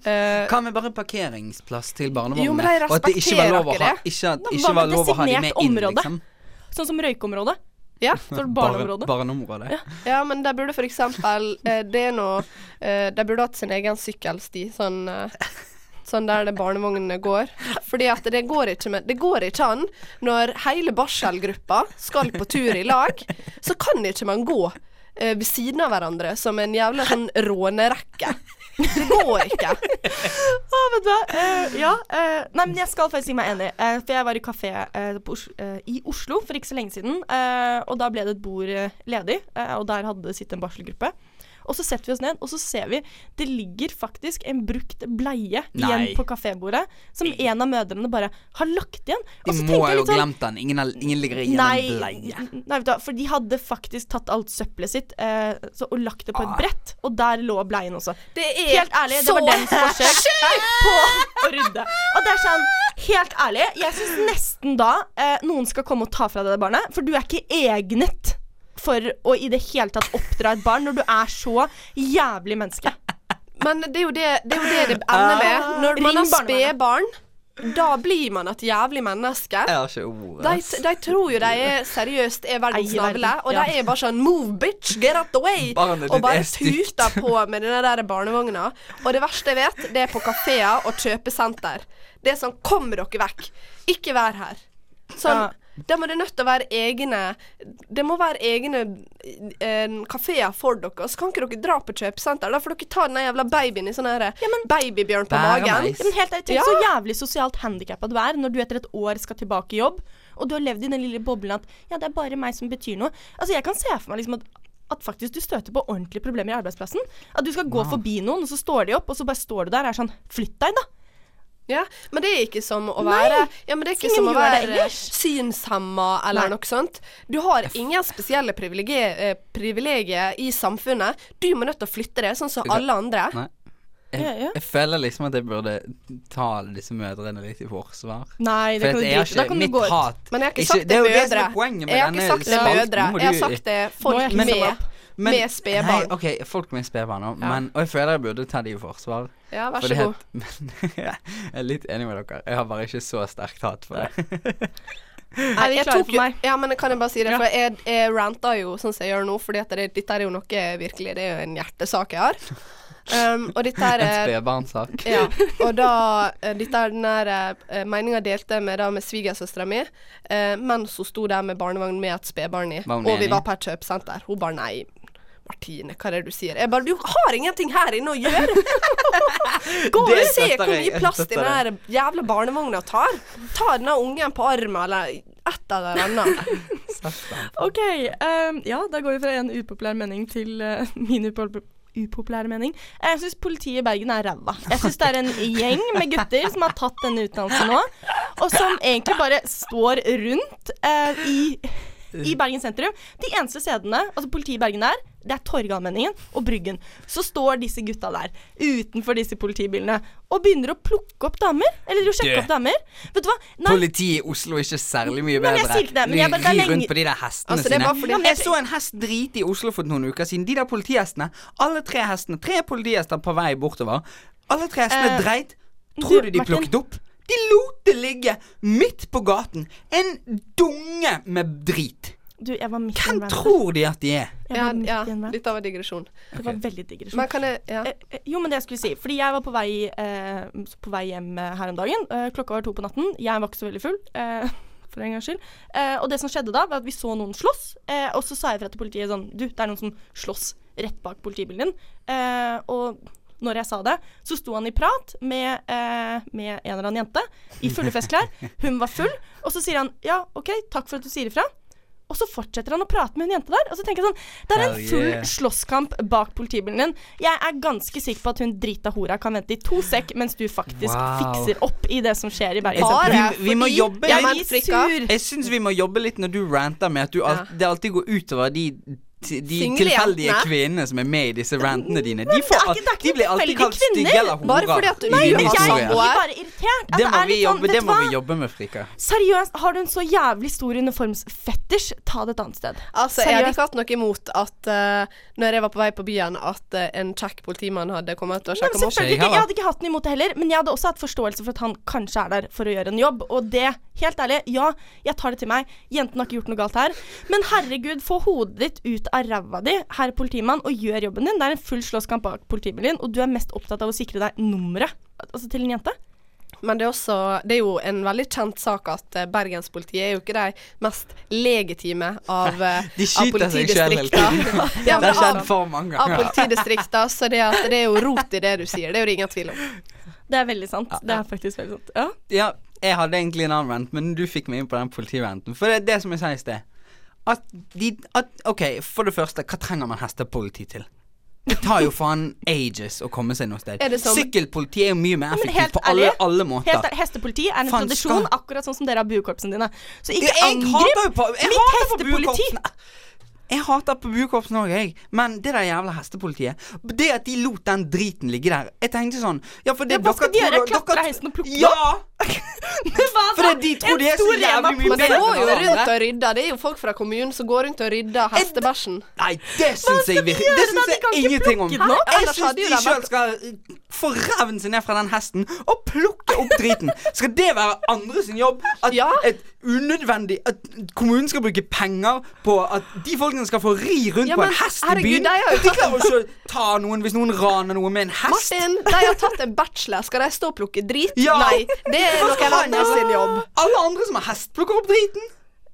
Eh,
Hva med bare parkeringsplass til
Jo, men de
barnevogner? Og at det ikke var
respekterer
lov å ha,
ikke det.
ikke at,
Nå, hva
ikke var
med
lov å ha de med
designert
inn,
område?
liksom.
Sånn som røykeområdet?
ja.
Sånn
Bare,
barneområdet?
barneområdet.
ja, men de burde for eksempel eh, Det er noe eh, De burde hatt sin egen sykkelsti, sånn eh, Sånn der det barnevognene går. Fordi at det går ikke med Det går ikke an når hele barselgruppa skal på tur i lag, så kan ikke man gå eh, ved siden av hverandre som en jævla sånn rånerekke. Det går ikke.
Å, vet du hva. Eh, ja. eh, nei, men jeg skal faktisk si meg enig. Eh, for jeg var i kafé eh, på Os eh, i Oslo for ikke så lenge siden. eh, og da ble det et bord eh, ledig, eh, og der hadde det sittet en barselgruppe. Og så setter vi oss ned, og så ser vi det ligger faktisk en brukt bleie igjen
Nei.
på kafébordet. Som en av mødrene bare har lagt igjen.
De
Og så
må
tenker jeg
jo
litt
ha
sånn
glemt den. Ingen, har- ingen ligger igjen
Nei,
en bleie.
n- nei, vet du hva, for de hadde faktisk tatt alt søppelet sitt eh, så, og lagt det på et brett, og der lå bleien også.
Ah. Det er
Helt ærlig, det var
så
deres forsøk på å rydde. Og det er sånn, helt ærlig, jeg syns nesten da eh, noen skal komme og ta fra deg det barnet, for du er ikke egnet for å i det hele tatt oppdra et barn når du er så jævlig menneske.
Men det er jo det det, er jo det, det ender med. Når
Ring
man har
barnevernet.
spedbarn, da blir man et jævlig menneske.
Jeg har ikke ord.
De,
ass.
de tror jo de er seriøst er verdens
Eier verden,
navle, og
ja.
de er bare sånn 'move, bitch, get out the way',
Barnet
og
ditt
bare
er stygt.
tuter på med den der barnevogna. Og det verste jeg vet, det er på kafeer og kjøpesenter. Det er sånn 'kom dere vekk', ikke vær her. Sånn, Da må det nødt til å være egne Det må være egne eh, kafeer for dere. Så kan ikke dere dra på kjøpesenter, da, for dere tar den der jævla babyen i sånn her babybjørn på
Bæremeis.
magen.
Ja,
Men helt ærlig, Tenk
Ja.
så jævlig sosialt handikappa du er når du etter et år skal tilbake i jobb, og du har levd i den lille boblen at ja, det er bare meg som betyr noe. Altså, Jeg kan se for meg liksom at at faktisk du støter på ordentlige problemer i arbeidsplassen. At du skal gå forbi noen, og så står de opp, og så bare står du der og er sånn Flytt deg, da!
Ja, men det er ikke som å
Nei,
være Ja, men det er ikke
ingen
som å
gjør det
være
ellers.
synshemma eller
Nei.
noe sånt. Du har ingen spesielle privilegier, eh, privilegier i samfunnet. Du må nødt til å flytte det, sånn som alle andre.
Nei.
Ja, ja.
Jeg, jeg føler liksom at jeg burde ta disse mødrene litt i forsvar.
Nei, det
For
kan
at
du
jeg har
drite i. Da
ikke
kan du
mitt
gå ut.
hat
Men jeg har ikke
Ikke-
sagt
det
det
er
er
jo det som er poenget
mødre.
med
Jeg har ikke
denne
sagt det
spalten.
mødre.
Nå må
Jeg har
du-
sagt det folk
ikke
med,
samle opp.
med spedbarn.
Nei, ok, folk med spedbarn òg, men Og jeg føler jeg burde ta de i forsvar.
Ja, vær så
For det
god.
het- Men jeg er litt enig med dere. Jeg har bare ikke så sterkt hat for det.
Er vi
Jeg
klare
tok
for
jo-
meg?
Ja, men kan jeg bare si det, for jeg, jeg ranta jo sånn som jeg gjør nå, fordi at det, dette er jo noe jeg virkelig Det er jo en hjertesak jeg har. Um, og dette er
En spedbarnsak.
Ja, og da eh, Dette er den der eh, meninga jeg delte med, da, med svigersøstera mi, eh, mens hun sto der med barnevogn med et spedbarn i,
Var hun
og vi
enig?
var på et kjøpesenter. Hun bare nei. Martine, hva er det du sier? Jeg bare Du har ingenting her inne å gjøre! Gå og
Det
se
støtter
hvor
jeg,
mye
jeg
plass
støtter
den her jævla barnevogna tar! Ta denne ungen på armen, eller et eller annet.
OK. ehm, ja, da går vi fra en upopulær mening til eh, min upo- upopulære mening. Jeg syns politiet i Bergen er ræva. Jeg syns det er en gjeng med gutter som har tatt denne utdannelsen nå, og som egentlig bare står rundt eh, i i Bergen sentrum. De eneste stedene altså politiet i Bergen er, det er Torgallmenningen og Bryggen. Så står disse gutta der utenfor disse politibilene og begynner å plukke opp damer. Eller å sjekke
Du.
opp damer. Vet du hva? Nei,
Politiet i Oslo er ikke særlig mye
Nei, men
bedre.
jeg sier ikke det, men jeg bare-
de
det er
rir
lenge-
rundt på de der hestene
Altså, det er
sine.
bare fordi-
Ja, men jeg så en hest drite i Oslo for noen uker siden. De der politihestene. Alle tre hestene. Tre politihester på vei bortover. Alle tre hestene
Eh,
dreit. Tror du
du,
de
Martin?
plukket opp? De lot det ligge midt på gaten. En dunge med drit.
du, jeg var midt i en
Hvem
rant.
tror de at de er?
Jeg
Ja,
var midt
ja,
i en rant.
litt av en digresjon.
Det var veldig digresjon.
Men kan jeg Ja.
Eh, eh, Jo, men det jeg skulle si. Fordi jeg var på vei, eh, på vei hjem eh, her om dagen. Eh, klokka var to på natten. Jeg var ikke så veldig full. Eh, for en gangs skyld. Eh, og det som skjedde da, var at vi så noen slåss. Eh, og så sa jeg fra til politiet sånn Du, det er noen som slåss rett bak politibilen din. Eh, og når jeg sa det, så sto han i prat med, eh, med en eller annen jente i fulle festklær. Hun var full. Og så sier han ja, OK, takk for at du sier ifra. Og så fortsetter han å prate med hun jenta der. Og så tenker jeg sånn Det er en
Hell
full
yeah.
slåsskamp bak politibilen din. Jeg er ganske sikker på at hun drita hora kan vente i to sekk mens du faktisk
Wow.
fikser opp i det som skjer i Bergen.
Bare
Vi- vi må
fordi
jobbe
jeg
litt.
er frikka.
Jeg syns vi må jobbe litt når du ranter med at du al det alltid går utover de de
Single
tilfeldige
jentene.
kvinnene som er med i disse rantene dine.
Men
De,
det
får
er
al-
ikke- det er ikke
de blir alltid
tilfeldige
kalt stygge
kvinner.
eller horer.
Bare fordi at du-
i
Nei,
din
men
Jeg
Masse
historie.
blir
samboer.
bare irritert. At
Det må
er
vi
litt sånn,
jobbe, det
vet du
må
hva?
vi jobbe med, Frika.
Seriøst, har du en så jævlig stor uniformsfetisj, ta det et annet sted.
Altså, Jeg hadde
Seriøst.
ikke hatt noe imot at eh, når jeg var på vei på byen, at eh, en kjekk politimann hadde kommet og
Nei, men
sjekka meg opp.
selvfølgelig
Skjegg her,
ikke.
da.
Jeg hadde ikke hatt den imot det heller, men jeg hadde også hatt forståelse for at han kanskje er der for å gjøre en jobb. Og det, helt ærlig, ja, jeg tar det til meg. Jenten har ikke gjort noe galt her. Men herregud, få hodet ditt ut av ræva di, herr politimann, og gjør jobben din. Det er en full slåsskamp bak politibilen din, og du er mest opptatt av å sikre deg nummeret. Altså til en jente.
Men det er, også, det er jo en veldig kjent sak at eh, bergenspolitiet er jo ikke de mest legitime av, eh,
De
av
skyter seg selv hele
politidistrikter.
tiden.
Ja,
det
men
har skjedd
av-
for mange
Av
ganger.
politidistrikter, så det, at det er jo rot i det du sier. Det er jo det ingen tvil om.
Det er veldig sant. Det er faktisk veldig sant. Ja.
Ja, jeg hadde egentlig en annen rant, men du fikk meg inn på den politiranten. For det er det som jeg sa i sted. At de at, OK, for det første, hva trenger man hestepoliti til? Det tar jo faen ages å komme seg noe sted.
Er det som-
Sykkelpoliti er jo mye mer
sånn- Ja, men
effektivt
helt
på alle,
ærlig,
alle
Helt
måter.
ærlig, hestepoliti er en
Faen,
tradisjon,
skal-
akkurat sånn som dere har buekorpsene dine. Så ikke
Jeg hater jo
angrip
på Jeg
mitt
hater på
hestepoliti!
buekorpsen. Jeg hater på buekorpsen òg, jeg. Men det der jævla hestepolitiet. Det at de lot den driten ligge der. Jeg tenkte sånn Ja, for det
Ja, hva skal de
dere tror-
gjøre?
dere-
Klatre hesten og plukke den
Ja!
Hva da?
Fordi de tror
En
de er så
stor
jævlig
Rema-pose.
mye
Men det
bedre
går jo
enn
rundt
hverandre.
og rydder. Det er jo folk fra kommunen som går rundt og rydder hestebæsjen.
Nei, det syns
skal
jeg
de
virkelig
gjøre
Det
da?
syns
De
jeg
kan ikke
ingenting om.
plukke den opp.
Jeg
Ellers
syns
hadde jo
de
det
sjøl skal uh, få ræven sin ned fra den hesten og plukke opp driten. Skal det være andre sin jobb? At
Ja.
et unødvendig At kommunen skal bruke penger på at de folkene skal få ri rundt
Ja,
på en
men
hest i
herregud,
byen?
de har jo
De klarer jo ikke å ta noen hvis noen raner noen med en hest.
Martin, de har tatt en bachelor. Skal de stå og plukke drit?
Ja.
Nei, det er noen andre sin jobb.
Alle andre som har hest, plukker opp driten.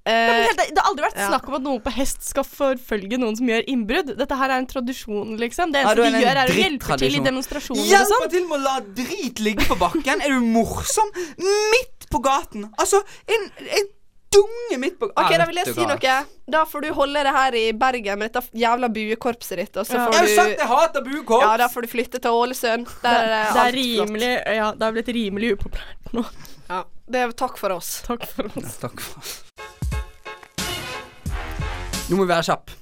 Ja, men
Eh,
helt, det har aldri vært
ja.
snakk om at noen på hest skal forfølge noen som gjør innbrudd. Dette her er en tradisjon, liksom. Det
Ja,
eneste
du er
vi
en
gjør, er å hjelpe til i
drittradisjon.
demonstrasjoner og
Hjelper
sånn.
til med å la drit ligge på bakken. Er du morsom? Midt på gaten. Altså, en, en dunge midt på
OK,
Ja,
da
vet
vil jeg
du
si
hva.
noe. Da får du holde det her i Bergen med dette jævla buekorpset ditt, og så
Ja.
Jeg har jo
får
sagt
du
jeg hater buekorps.
Ja, da får du flytte til Ålesund. Der er det
Det er
alt
rimelig Ja, det har blitt rimelig upopulært nå.
flott. Ja. Det er takk for oss.
Takk for oss.
Takk for Nå må vi være kjappe.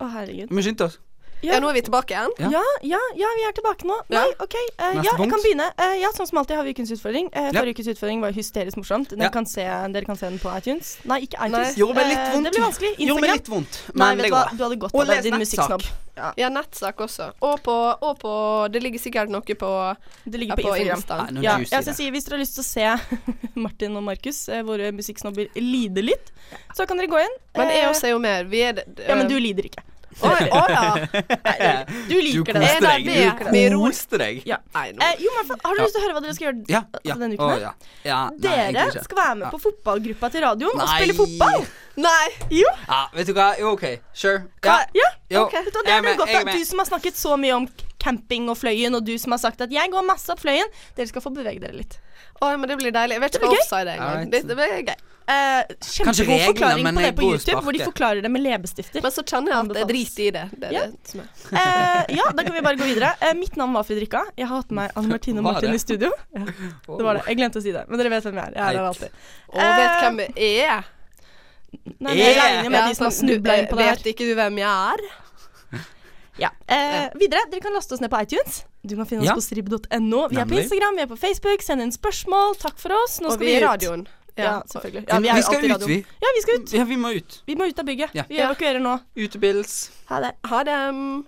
Å, herregud.
Vi må skynde oss.
Ja, nå er vi tilbake igjen.
Ja.
Ja, ja, ja, vi er tilbake nå.
Ja.
Nei, OK. eh,
Neste
ja, jeg
punkt.
kan begynne. Eh, ja, sånn som alltid har vi ukens utfordring. Eh,
Ja.
forrige ukens utfordring var hysterisk morsomt. Den
Ja.
kan se, dere kan se den på iTunes. Nei, ikke iTunes.
Gjorde meg
Eh,
litt vondt.
det blir vanskelig.
Gjorde meg
Instagram.
litt vondt,
Nei,
men
vet
det
du hva.
går.
Du hadder godt
Og
av det,
les
din
nettsak.
musikksnobb.
Ja, nettsak også. Og på, og på Det ligger sikkert noe på,
Det ligger
ja,
på,
på
Instagram.
Instagram.
Nei, noen
Ja,
juice
ja,
i
så jeg
det.
sier, hvis dere har lyst til å se Martin og Markus, eh, våre musikksnobber, lide litt, så kan dere gå inn.
Men
Eh,
jeg også er jo mer Vi er det-
Ja, men du lider ikke.
Å å ja.
Du liker det.
koste deg.
Eh,
det. Vi
Du
roer.
koste deg.
Ja.
Nei, nå.
Eh, jo, men fa- har du lyst til å høre hva dere skal gjøre altså
Ja. ja.
denne uken?
Å,
her?
ja. ja. Nei,
Dere
egentlig ikke.
skal være med på fotballgruppa til radioen og
Nei.
spille fotball.
Nei.
Jo.
Ja, vet du hva? Jo, OK. Sure. Ja.
Hva- Ja,
Jo.
ok. Vet du hva,
Jeg er
Det blir
med,
godt
jeg er
at
med.
du som har snakket så mye om k- camping og fløyen, og du som har sagt at 'jeg går masse opp fløyen', dere skal få bevege dere litt.
Å, men det blir deilig. Jeg vet
Det
ikke
blir
hva
gøy.
offside er engang.
Alright.
Det, det blir gøy.
Eh,
Kanskje
Kjempegod
reglene,
forklaring
men
på det
jeg
på
bor og
YouTube, hvor de
sparker.
forklarer det med leppestifter.
Men så kjenner jeg at jeg
Anbefales.
driter i det. Det er
Ja.
det som er.
Eh, ja, da kan vi bare gå videre. Eh, mitt navn var Fredrikka. Jeg har hatt med meg Anne Martine og
Var
Martin
det?
i studio. Ja, det var det. Jeg glemte å si det, men dere vet hvem jeg er. Jeg er der
Heit.
alltid.
Og vet hvem jeg er.
Nei, Eh, men jeg
Yeah.
regner med de som har
sånn, du,
snubla inn på det her.
Vet ikke du hvem jeg er?
Ja. Eh, videre, dere kan laste oss ned på iTunes. Du kan finne oss
Ja.
på strib.no. Vi er på
Nemlig.
Instagram, vi er på Facebook. Send inn spørsmål. Takk for oss. Nå
Og
skal
vi
vi
er i
ut.
radioen.
Ja, selvfølgelig.
Vi-
Ja, er
vi
jo
skal
alltid i
ut,
radioen.
vi.
Ja, vi skal ut.
Ja, vi må ut.
Vi må ut av bygget.
Ja.
Vi evakuerer nå.
Utepils.
Ha det.
Ha det.